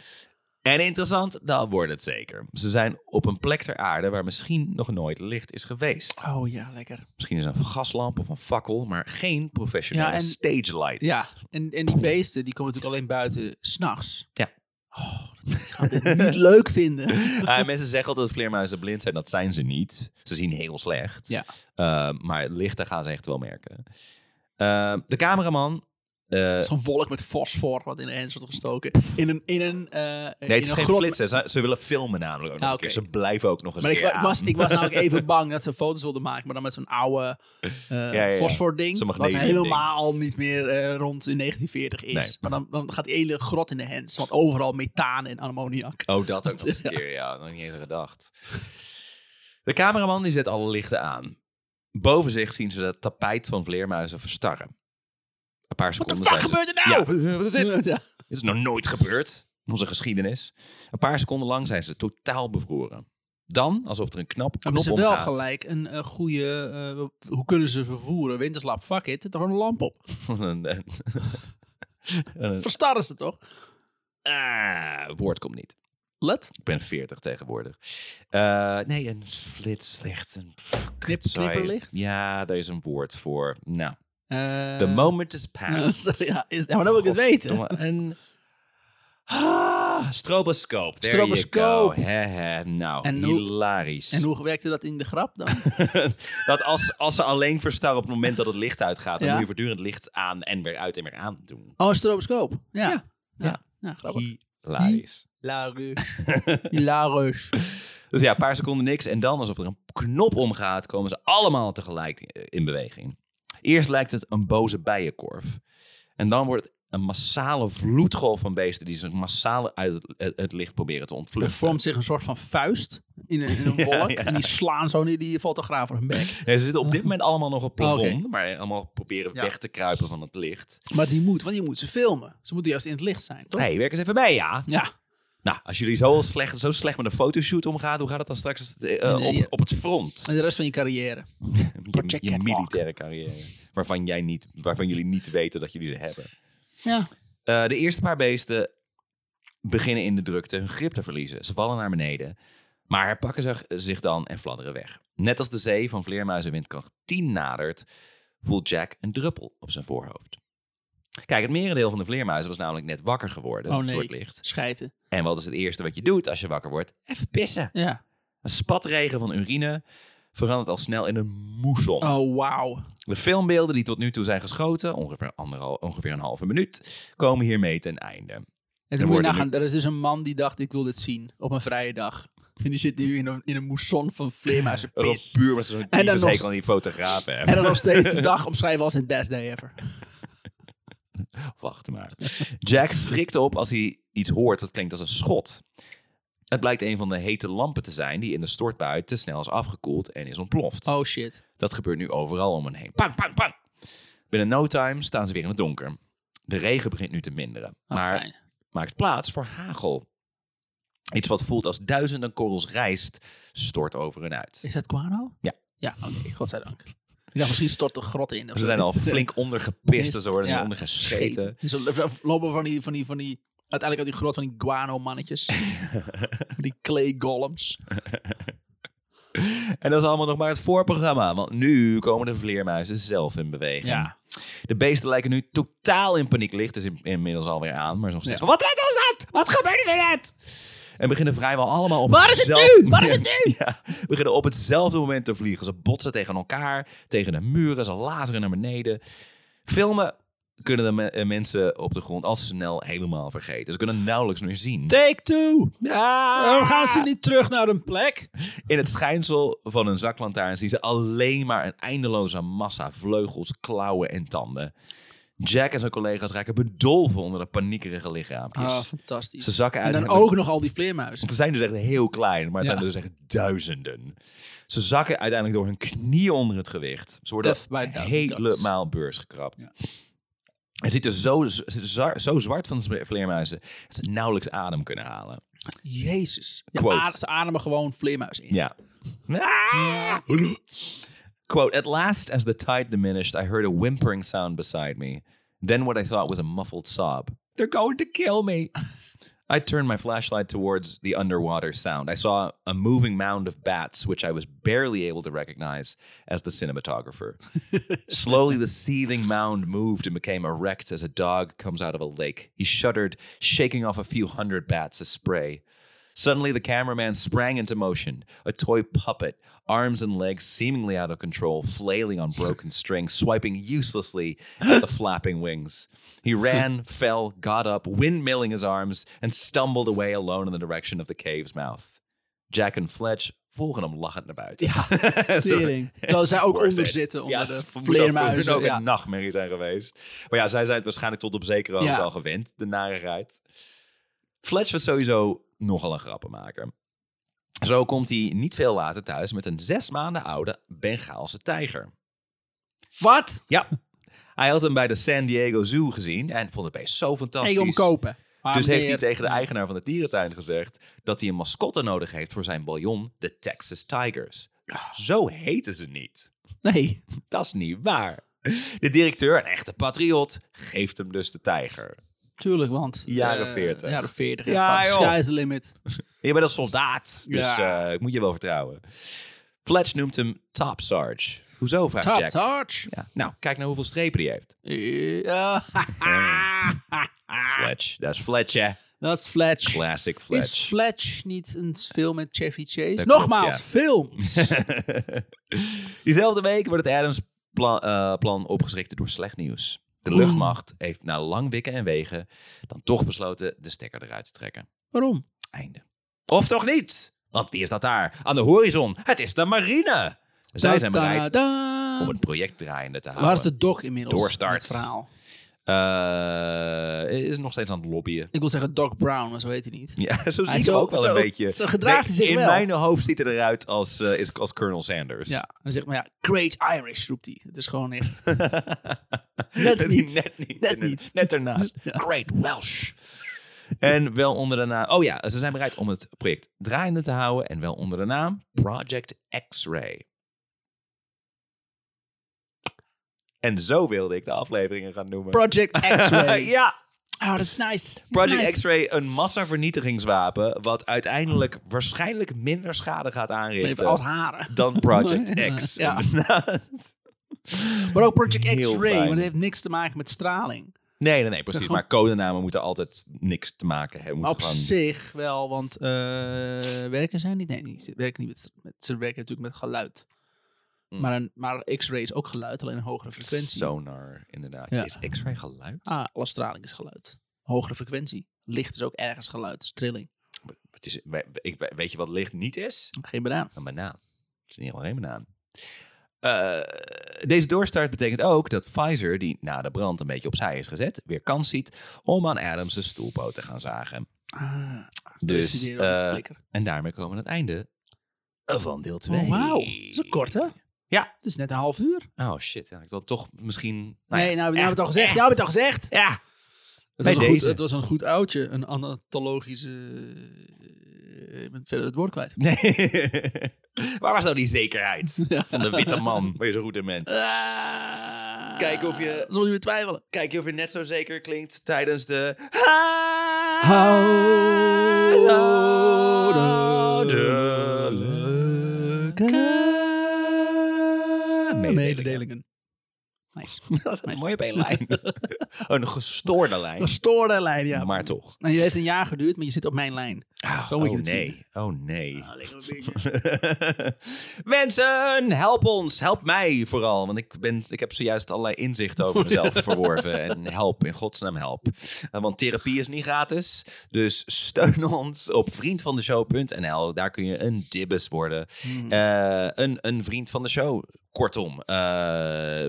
Speaker 1: En interessant, dat wordt het zeker. Ze zijn op een plek ter aarde waar misschien nog nooit licht is geweest.
Speaker 2: Oh ja, lekker.
Speaker 1: Misschien is een gaslamp of een fakkel, maar geen professionele
Speaker 2: Ja, en-
Speaker 1: stage lights.
Speaker 2: Ja, en, en die beesten die komen natuurlijk alleen buiten s'nachts.
Speaker 1: Ja.
Speaker 2: Oh, dat gaan we dit niet leuk vinden.
Speaker 1: Ah, en mensen zeggen altijd dat vleermuizen blind zijn. Dat zijn ze niet. Ze zien heel slecht.
Speaker 2: Ja.
Speaker 1: Eh, maar het licht, daar gaan ze echt wel merken. Eh, de cameraman... eh,
Speaker 2: Zo'n wolk met fosfor wat in eens wordt gestoken. In een, in een, eh,
Speaker 1: Nee,
Speaker 2: in
Speaker 1: het is
Speaker 2: een
Speaker 1: geen
Speaker 2: grot.
Speaker 1: flitsen. Ze, ze willen filmen namelijk ook nog
Speaker 2: Ah,
Speaker 1: een keer.
Speaker 2: oké.
Speaker 1: Ze blijven ook nog eens
Speaker 2: Maar
Speaker 1: een
Speaker 2: ik,
Speaker 1: keer
Speaker 2: wa- was,
Speaker 1: aan.
Speaker 2: ik was namelijk even bang dat ze foto's wilden maken, maar dan met zo'n oude eh
Speaker 1: ja, ja.
Speaker 2: fosfor-ding.
Speaker 1: Zo'n
Speaker 2: Wat
Speaker 1: magnesium-ding.
Speaker 2: helemaal niet meer eh, rond in 1940 is.
Speaker 1: Nee.
Speaker 2: Maar dan, dan gaat die hele grot in de hens, want overal methaan en ammoniak.
Speaker 1: Oh, dat ook nog eens een keer. Ja, nog niet eens aan gedacht. De cameraman die zet alle lichten aan. Boven zich zien ze dat tapijt van vleermuizen verstarren. Een paar
Speaker 2: Wat de
Speaker 1: seconden
Speaker 2: fuck
Speaker 1: zijn ze...
Speaker 2: gebeurt er nou?
Speaker 1: Ja, wat is dit?
Speaker 2: Ja.
Speaker 1: Dit is nog nooit gebeurd in onze geschiedenis. Een paar seconden lang zijn ze totaal bevroren. Dan, alsof er een knap knop
Speaker 2: Hebben ze wel
Speaker 1: omgaat.
Speaker 2: gelijk een eh, goede... eh, hoe kunnen ze vervoeren? Winterslap, fuck it. Zet er gewoon een lamp op.
Speaker 1: Een- een- een-
Speaker 2: Verstarren ze toch?
Speaker 1: Ah, woord komt niet.
Speaker 2: Let.
Speaker 1: Ik ben 40 tegenwoordig. Eh, nee, een flitslicht. Een
Speaker 2: Knip,
Speaker 1: Sorry.
Speaker 2: knipperlicht?
Speaker 1: Ja, daar is een woord voor. Nou,
Speaker 2: Eh,
Speaker 1: the moment is past.
Speaker 2: ja, is, ja, maar dan wil ik het weten.
Speaker 1: Goddomme, Een ah, stroboscoop. There you
Speaker 2: Stroboscoop.
Speaker 1: go. Hè, hè. Nou,
Speaker 2: En hoe-
Speaker 1: hilarisch.
Speaker 2: En hoe werkte dat in de grap dan?
Speaker 1: dat als, als ze alleen verstarren op het moment dat het licht uitgaat, dan
Speaker 2: Ja.
Speaker 1: moet je voortdurend licht aan en weer uit en weer aan doen.
Speaker 2: Oh, een stroboscoop. Ja. Ja, ja. grappig.
Speaker 1: Hilarisch.
Speaker 2: Hilarisch. Hilarisch.
Speaker 1: Dus ja, een paar seconden niks. En dan, alsof er een knop omgaat, komen ze allemaal tegelijk eh, in beweging. Eerst lijkt het een boze bijenkorf. En dan wordt het een massale vloedgolf van beesten die zich massaal uit het, het- het licht proberen te
Speaker 2: Er
Speaker 1: ontvluchten.
Speaker 2: vormt zich een soort van vuist in een, in een
Speaker 1: Ja,
Speaker 2: wolk.
Speaker 1: ja.
Speaker 2: En die slaan zo neer die fotograaf op hun bek.
Speaker 1: En ze zitten op dit moment allemaal nog op plafond,
Speaker 2: Oh, Oké.
Speaker 1: maar allemaal proberen
Speaker 2: Ja.
Speaker 1: weg te kruipen van het licht.
Speaker 2: Maar die moet, want je moet ze filmen. Ze moeten juist in het licht zijn, toch?
Speaker 1: Hé, hey, werk eens even bij, ja.
Speaker 2: Ja.
Speaker 1: Nou, als jullie zo slecht, zo slecht met een fotoshoot omgaan, hoe gaat het dan straks als het, eh,
Speaker 2: Nee, ja.
Speaker 1: op, op het front?
Speaker 2: En de rest van je carrière.
Speaker 1: Je,
Speaker 2: Project
Speaker 1: je
Speaker 2: Catwalk.
Speaker 1: militaire carrière, waarvan, jij niet, waarvan jullie niet weten dat jullie ze hebben.
Speaker 2: Ja.
Speaker 1: Eh, de eerste paar beesten beginnen in de drukte hun grip te verliezen. Ze vallen naar beneden, maar herpakken zich, eh, zich dan en fladderen weg. Net als de zee van vleermuizen windkracht 10 nadert, voelt Jack een druppel op zijn voorhoofd. Kijk, het merendeel van de vleermuizen was namelijk net wakker geworden
Speaker 2: Oh, nee.
Speaker 1: door het licht.
Speaker 2: Schijten.
Speaker 1: En wat is het eerste wat je doet als je wakker wordt? Even pissen.
Speaker 2: Ja.
Speaker 1: Een spatregen van urine verandert al snel in een moeson.
Speaker 2: Oh, wauw.
Speaker 1: De filmbeelden die tot nu toe zijn geschoten, ongeveer, anderhal, ongeveer een halve minuut, komen hiermee ten einde.
Speaker 2: En
Speaker 1: Er
Speaker 2: dan moet je
Speaker 1: worden
Speaker 2: nagaan, er is dus een man die dacht, ik wil dit zien. Op een vrije dag. En die zit nu in een, in een moesson van vleermuizen
Speaker 1: Erop
Speaker 2: pis.
Speaker 1: puur met zo'n
Speaker 2: dan
Speaker 1: tyfushekel
Speaker 2: nog-
Speaker 1: aan die fotografen.
Speaker 2: En dan nog steeds de dag omschrijven als het best day ever.
Speaker 1: Wacht maar. Jack schrikt op als hij iets hoort dat klinkt als een schot. Het blijkt een van de hete lampen te zijn die in de stortbui te snel is afgekoeld en is ontploft.
Speaker 2: Oh shit.
Speaker 1: Dat gebeurt nu overal om hen heen. Pang, pang, pang. Binnen no time staan ze weer in het donker. De regen begint nu te minderen,
Speaker 2: Ah,
Speaker 1: maar
Speaker 2: fijn.
Speaker 1: maakt plaats voor hagel. Iets wat voelt als duizenden korrels rijst stort over hen uit.
Speaker 2: Is dat guano?
Speaker 1: Ja.
Speaker 2: Ja, oké. Godzijdank. Ik dacht, misschien stort de grot in.
Speaker 1: Ze
Speaker 2: of zo.
Speaker 1: zijn al flink ondergepist en ze worden nu
Speaker 2: eh, Ja.
Speaker 1: ondergescheten.
Speaker 2: Ze lopen van die, van die, van die, uiteindelijk uit die grot van die guano-mannetjes. die clay golems.
Speaker 1: En dat is allemaal nog maar het voorprogramma, want nu komen de vleermuizen zelf in beweging.
Speaker 2: Ja.
Speaker 1: De beesten lijken nu totaal in paniek. Licht is in- inmiddels alweer aan, maar is nog steeds
Speaker 2: Ja.
Speaker 1: van, wat was dat? Wat gebeurde er net? En beginnen vrijwel allemaal op
Speaker 2: Waar is het
Speaker 1: hetzelfde-
Speaker 2: nu? Waar is het nu?
Speaker 1: Ja, beginnen op hetzelfde moment te vliegen. Ze botsen tegen elkaar, tegen de muren, ze lazeren naar beneden. Filmen kunnen de me- eh, mensen op de grond al snel helemaal vergeten. Ze kunnen nauwelijks meer zien.
Speaker 2: Take two!
Speaker 1: Ja.
Speaker 2: Waarom gaan ze niet terug naar hun plek?
Speaker 1: In het schijnsel van een zaklantaarn zien ze alleen maar een eindeloze massa vleugels, klauwen en tanden. Jack en zijn collega's raken bedolven onder de paniekerige lichaampjes.
Speaker 2: Ah, fantastisch.
Speaker 1: Ze zakken uit
Speaker 2: En dan
Speaker 1: en hebben-
Speaker 2: ook nog al die vleermuizen.
Speaker 1: Want ze zijn dus echt heel klein, maar het
Speaker 2: Ja.
Speaker 1: zijn er dus echt duizenden. Ze zakken uiteindelijk door hun knieën onder het gewicht. Ze worden
Speaker 2: Death by thousand
Speaker 1: helemaal beursgekrapt. Hij zit er zo, z- zo, zo zwart van de vleermuizen dat ze nauwelijks adem kunnen halen.
Speaker 2: Jezus. Ja,
Speaker 1: Quote.
Speaker 2: a- ze ademen gewoon vleermuizen in.
Speaker 1: Ja. Quote, at last as the tide diminished, I heard a whimpering sound beside me. Then what I thought was a muffled sob. They're going to kill me. I turned my flashlight towards the underwater sound. I saw a moving mound of bats, which I was barely able to recognize as the cinematographer. Slowly, the seething mound moved and became erect as a dog comes out of a lake. He shuddered, shaking off a few hundred bats as spray. Suddenly, the cameraman sprang into motion, a toy puppet, arms and legs seemingly out of control, flailing on broken strings, swiping uselessly at the flapping wings. He ran, fell, got up, windmilling his arms, and stumbled away alone in the direction of the cave's mouth. Jack en Fletch volgen hem lachend naar buiten. Ja,
Speaker 2: Tering. Terwijl zij ook onder zitten, onder de
Speaker 1: ze moeten ook-
Speaker 2: vleermuizen.
Speaker 1: moeten ook
Speaker 2: Ja.
Speaker 1: een nachtmerrie zijn geweest. Maar ja, zij zijn het waarschijnlijk tot op zekere hoogte
Speaker 2: Ja.
Speaker 1: al gewend. De narigheid. Fletch was sowieso nogal een grappenmaker. Zo komt hij niet veel later thuis met een zes maanden oude Bengaalse tijger.
Speaker 2: Wat?
Speaker 1: Ja. Hij had hem bij de San Diego Zoo gezien en vond het beest zo
Speaker 2: Hey,
Speaker 1: fantastisch.
Speaker 2: om kopen. Maar
Speaker 1: dus heeft hij
Speaker 2: meneer-
Speaker 1: tegen de eigenaar van de dierentuin gezegd dat hij een mascotte nodig heeft voor zijn baljon, de Texas Tigers. Zo heten ze niet.
Speaker 2: Nee.
Speaker 1: Dat is niet waar. De directeur, een echte patriot, geeft hem dus de tijger.
Speaker 2: Tuurlijk, want...
Speaker 1: Jaren
Speaker 2: eh,
Speaker 1: 40.
Speaker 2: Jaren 40.
Speaker 1: Ja,
Speaker 2: Ja,
Speaker 1: joh.
Speaker 2: Sky's the limit.
Speaker 1: Je bent een soldaat, dus
Speaker 2: Ja.
Speaker 1: eh, ik moet je wel vertrouwen. Fletch noemt hem Top Sarge. Hoezo, vraagt
Speaker 2: Top
Speaker 1: Jack.
Speaker 2: Sarge.
Speaker 1: Ja. Nou, kijk nou hoeveel strepen die heeft.
Speaker 2: Ja.
Speaker 1: Mm. Fletch, dat is Fletch, hè.
Speaker 2: Dat is Fletch.
Speaker 1: Classic
Speaker 2: Is
Speaker 1: Fletch.
Speaker 2: Fletch niet een film met Chevy Chase?
Speaker 1: Dat
Speaker 2: Nogmaals,
Speaker 1: klopt, ja.
Speaker 2: films.
Speaker 1: Diezelfde week wordt het Adams-plan opgeschrikt door slecht nieuws. De luchtmacht heeft na lang wikken en wegen dan toch besloten de stekker eruit te trekken.
Speaker 2: Waarom?
Speaker 1: Einde. Of toch niet? Want wie is dat daar? Aan de horizon. Het is de marine. Zij zijn bereid
Speaker 2: Ta-da-da.
Speaker 1: om het project draaiende te houden.
Speaker 2: Waar is de doc inmiddels?
Speaker 1: Doorstart.
Speaker 2: in Het verhaal.
Speaker 1: Eh, is nog steeds aan het lobbyen.
Speaker 2: Ik wil zeggen Doc Brown, maar zo heet hij niet.
Speaker 1: Ja, zo zie
Speaker 2: Hij
Speaker 1: ik
Speaker 2: Ah, zo-
Speaker 1: hem ook wel
Speaker 2: zo-
Speaker 1: een beetje.
Speaker 2: zo gedraagt hij zich
Speaker 1: in
Speaker 2: wel.
Speaker 1: mijn hoofd ziet hij eruit als, eh, is, als Colonel Sanders.
Speaker 2: Ja, en dan zegt maar ja, Great Irish roept hij. Het is gewoon echt.
Speaker 1: net
Speaker 2: niet.
Speaker 1: Net niet.
Speaker 2: Net niet.
Speaker 1: Net ernaast. Great Welsh. En wel onder de naam... Oh ja, ze zijn bereid om het project draaiende te houden. En wel onder de naam Project X-Ray. En zo wilde ik de afleveringen gaan noemen.
Speaker 2: Project X-Ray.
Speaker 1: ja,
Speaker 2: Oh, dat is nice. Dat is
Speaker 1: Project
Speaker 2: nice.
Speaker 1: X-Ray, een massavernietigingswapen... wat uiteindelijk waarschijnlijk minder schade gaat
Speaker 2: Heeft
Speaker 1: aanrichten...
Speaker 2: als haren.
Speaker 1: dan Project X.
Speaker 2: Ja.
Speaker 1: Inderdaad.
Speaker 2: Maar ook Project
Speaker 1: Heel
Speaker 2: X-Ray,
Speaker 1: fijn.
Speaker 2: want het heeft niks te maken met straling.
Speaker 1: Nee, nee, nee, precies.
Speaker 2: Gewoon-
Speaker 1: Maar codenamen moeten altijd niks te maken hebben.
Speaker 2: Maar
Speaker 1: Moeten
Speaker 2: op
Speaker 1: gewoon...
Speaker 2: zich wel, want eh, werken zij niet? Nee, niet, ze werken niet met, st- met- Ze werken natuurlijk met geluid.
Speaker 1: Hmm.
Speaker 2: Maar, een, maar X-ray is ook geluid, alleen een hogere frequentie.
Speaker 1: Sonar, inderdaad.
Speaker 2: Ja.
Speaker 1: Is X-ray geluid?
Speaker 2: Ah, alle straling is geluid. Hogere frequentie. Licht is ook ergens geluid, is trilling.
Speaker 1: Het is, we- we- ik, we- weet je wat licht niet is?
Speaker 2: Geen banaan.
Speaker 1: Een banaan. Het is niet helemaal geen banaan. Eh, deze doorstart betekent ook dat Pfizer, die na de brand een beetje opzij is gezet, weer kans ziet om aan Adams' stoelpoot te gaan zagen.
Speaker 2: Ah,
Speaker 1: Dus,
Speaker 2: bestuderen op de
Speaker 1: eh,
Speaker 2: flikker.
Speaker 1: en daarmee komen we aan het einde van deel 2.
Speaker 2: Oh, wauw. Dat is een kort, hè?
Speaker 1: Ja.
Speaker 2: Het is net een half uur.
Speaker 1: Oh shit, ja, ik had toch misschien... nou ja.
Speaker 2: nee, nou, nou
Speaker 1: echt,
Speaker 2: hebben we het al gezegd.
Speaker 1: echt.
Speaker 2: Nou hebben we het al gezegd.
Speaker 1: Ja.
Speaker 2: Het
Speaker 1: Bij
Speaker 2: was, een goed,
Speaker 1: deze.
Speaker 2: het was een goed oudje. Een anatologische... eh, Ik ben verder het woord kwijt.
Speaker 1: Nee. Waar was nou die zekerheid
Speaker 2: Ja.
Speaker 1: van de witte man? Ben je zo'n goede mens?
Speaker 2: Ah.
Speaker 1: Kijk of je-
Speaker 2: Zonder je weer twijfelen.
Speaker 1: Kijk je of je net zo zeker klinkt tijdens de... Mededelingen.
Speaker 2: Mededelingen. Nice.
Speaker 1: Dat is mooi op één lijn. Oh, een gestoorde lijn,
Speaker 2: Gestoorde lijn, ja.
Speaker 1: maar toch.
Speaker 2: En je heeft een jaar geduurd, maar je zit op mijn lijn. Zo moet je
Speaker 1: oh,
Speaker 2: het
Speaker 1: nee.
Speaker 2: zien.
Speaker 1: Oh nee.
Speaker 2: Ah, lekker een beetje.
Speaker 1: Mensen, help ons. Help mij vooral. Want ik, ben, ik heb zojuist allerlei inzichten over mezelf verworven. En help, in godsnaam help. Eh, Want therapie is niet gratis. Dus steun ons op vriendvandeshow.nl. Daar kun je een dibbes worden. Eh, een, een vriend van de show. Kortom, eh,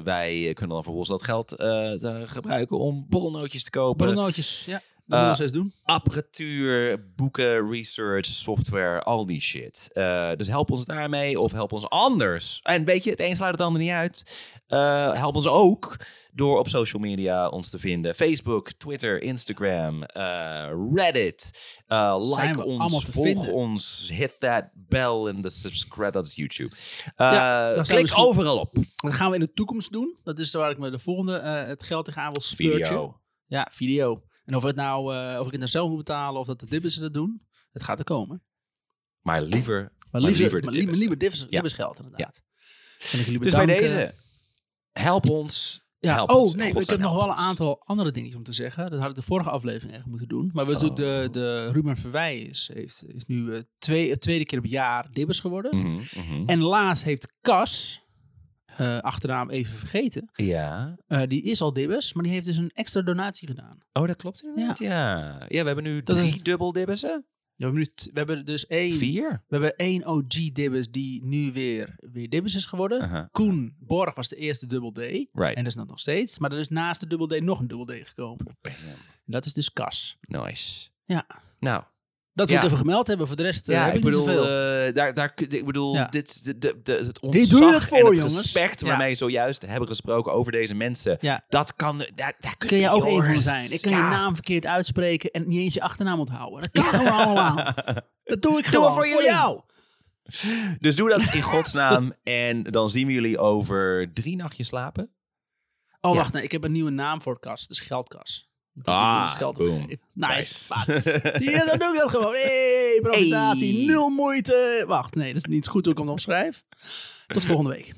Speaker 1: wij kunnen dan vervolgens dat geld eh, te gebruiken om borrelnootjes te kopen
Speaker 2: Borrelnootjes. Ja, dat
Speaker 1: Eh,
Speaker 2: moeten we nog steeds doen.
Speaker 1: apparatuur, boeken, research, software, al die shit. Eh, dus help ons daarmee of help ons anders. En weet je, het een sluit het ander niet uit. Eh, help ons ook door op social media ons te vinden. Facebook, Twitter, Instagram, eh, Reddit. Eh,
Speaker 2: Zijn
Speaker 1: like
Speaker 2: we
Speaker 1: ons,
Speaker 2: allemaal te
Speaker 1: volg
Speaker 2: vinden.
Speaker 1: ons, hit that bell and the subscribe. Dat is YouTube. Eh,
Speaker 2: Ja, daar zijn we
Speaker 1: klik
Speaker 2: misschien-
Speaker 1: overal op.
Speaker 2: Dat gaan we in de toekomst doen. Dat is waar ik me de volgende eh, het geld tegenaan wil speurtje.
Speaker 1: Video.
Speaker 2: Ja, video. En of, het nou, eh, of ik het nou zelf moet betalen of dat de dibbissen dat doen, het gaat er komen.
Speaker 1: Maar liever,
Speaker 2: Maar
Speaker 1: liever,
Speaker 2: liever,
Speaker 1: de
Speaker 2: maar
Speaker 1: tips.
Speaker 2: liever, liever dibbissen-
Speaker 1: Ja.
Speaker 2: dibbissen geld, inderdaad. En ik jullie
Speaker 1: Dus bij
Speaker 2: bedanken.
Speaker 1: deze, help ons.
Speaker 2: Ja,
Speaker 1: Help
Speaker 2: oh
Speaker 1: ons, in
Speaker 2: nee, ik
Speaker 1: godsnaam,
Speaker 2: heb nog
Speaker 1: help
Speaker 2: wel een
Speaker 1: ons.
Speaker 2: aantal andere dingetjes om te zeggen. Dat had ik de vorige aflevering echt moeten doen. Maar we
Speaker 1: Oh.
Speaker 2: doen de, de Ruben Verwij is, heeft, is nu eh, twee, het tweede keer op jaar dibbers geworden.
Speaker 1: Mhm, mhm.
Speaker 2: En laatst heeft Cas, eh, achternaam even vergeten,
Speaker 1: Ja.
Speaker 2: eh, die is al dibbers, maar die heeft dus een extra donatie gedaan.
Speaker 1: Oh, dat klopt inderdaad. Ja, ja. we hebben nu
Speaker 2: Dat
Speaker 1: drie
Speaker 2: is-
Speaker 1: dubbel dibbissen.
Speaker 2: We hebben, nu t- we hebben dus één,
Speaker 1: Vier.
Speaker 2: we hebben één OG-dibbers die nu weer, weer dibbers is geworden.
Speaker 1: Aha.
Speaker 2: Koen Borg was de eerste dubbel D. En
Speaker 1: Right.
Speaker 2: dat is dat nog steeds. Maar er is naast de dubbel D nog een dubbel D gekomen. En dat is dus Cas.
Speaker 1: Nice.
Speaker 2: Ja.
Speaker 1: Nou,
Speaker 2: Dat wil
Speaker 1: Ja.
Speaker 2: ik even gemeld hebben. Voor de rest eh,
Speaker 1: ja,
Speaker 2: heb
Speaker 1: ik
Speaker 2: ik niet
Speaker 1: bedoel,
Speaker 2: zoveel.
Speaker 1: eh, daar, daar, kun- ik bedoel
Speaker 2: Ja.
Speaker 1: dit, de, de, de- het
Speaker 2: doe je
Speaker 1: ontzag
Speaker 2: het voor,
Speaker 1: en het
Speaker 2: jongens.
Speaker 1: respect
Speaker 2: Ja.
Speaker 1: waarmee we zojuist hebben gesproken over deze mensen.
Speaker 2: Ja.
Speaker 1: Dat kan, daar, daar kun,
Speaker 2: kun je ook
Speaker 1: één
Speaker 2: één van zijn. Ik kan je naam verkeerd uitspreken en niet eens je achternaam onthouden. Dat kan gewoon allemaal. Dat doe ik
Speaker 1: het
Speaker 2: gewoon
Speaker 1: voor
Speaker 2: voor,
Speaker 1: jullie.
Speaker 2: jou.
Speaker 1: Dus doe dat in godsnaam en dan zien we jullie over drie nachtjes slapen.
Speaker 2: Oh,
Speaker 1: Ja.
Speaker 2: wacht. Nee, ik heb een nieuwe naam voor kas. Dus geldkas. Dat
Speaker 1: Ah,
Speaker 2: ik dus geld
Speaker 1: boom.
Speaker 2: opgeef. Nice.
Speaker 1: Nice.
Speaker 2: Fats. Zie je, dan doe ik dat gewoon. hey, improvisatie.
Speaker 1: Hey.
Speaker 2: Nul moeite. Wacht, nee, dat is niet goed hoe ik hem omschrijf. Tot volgende week.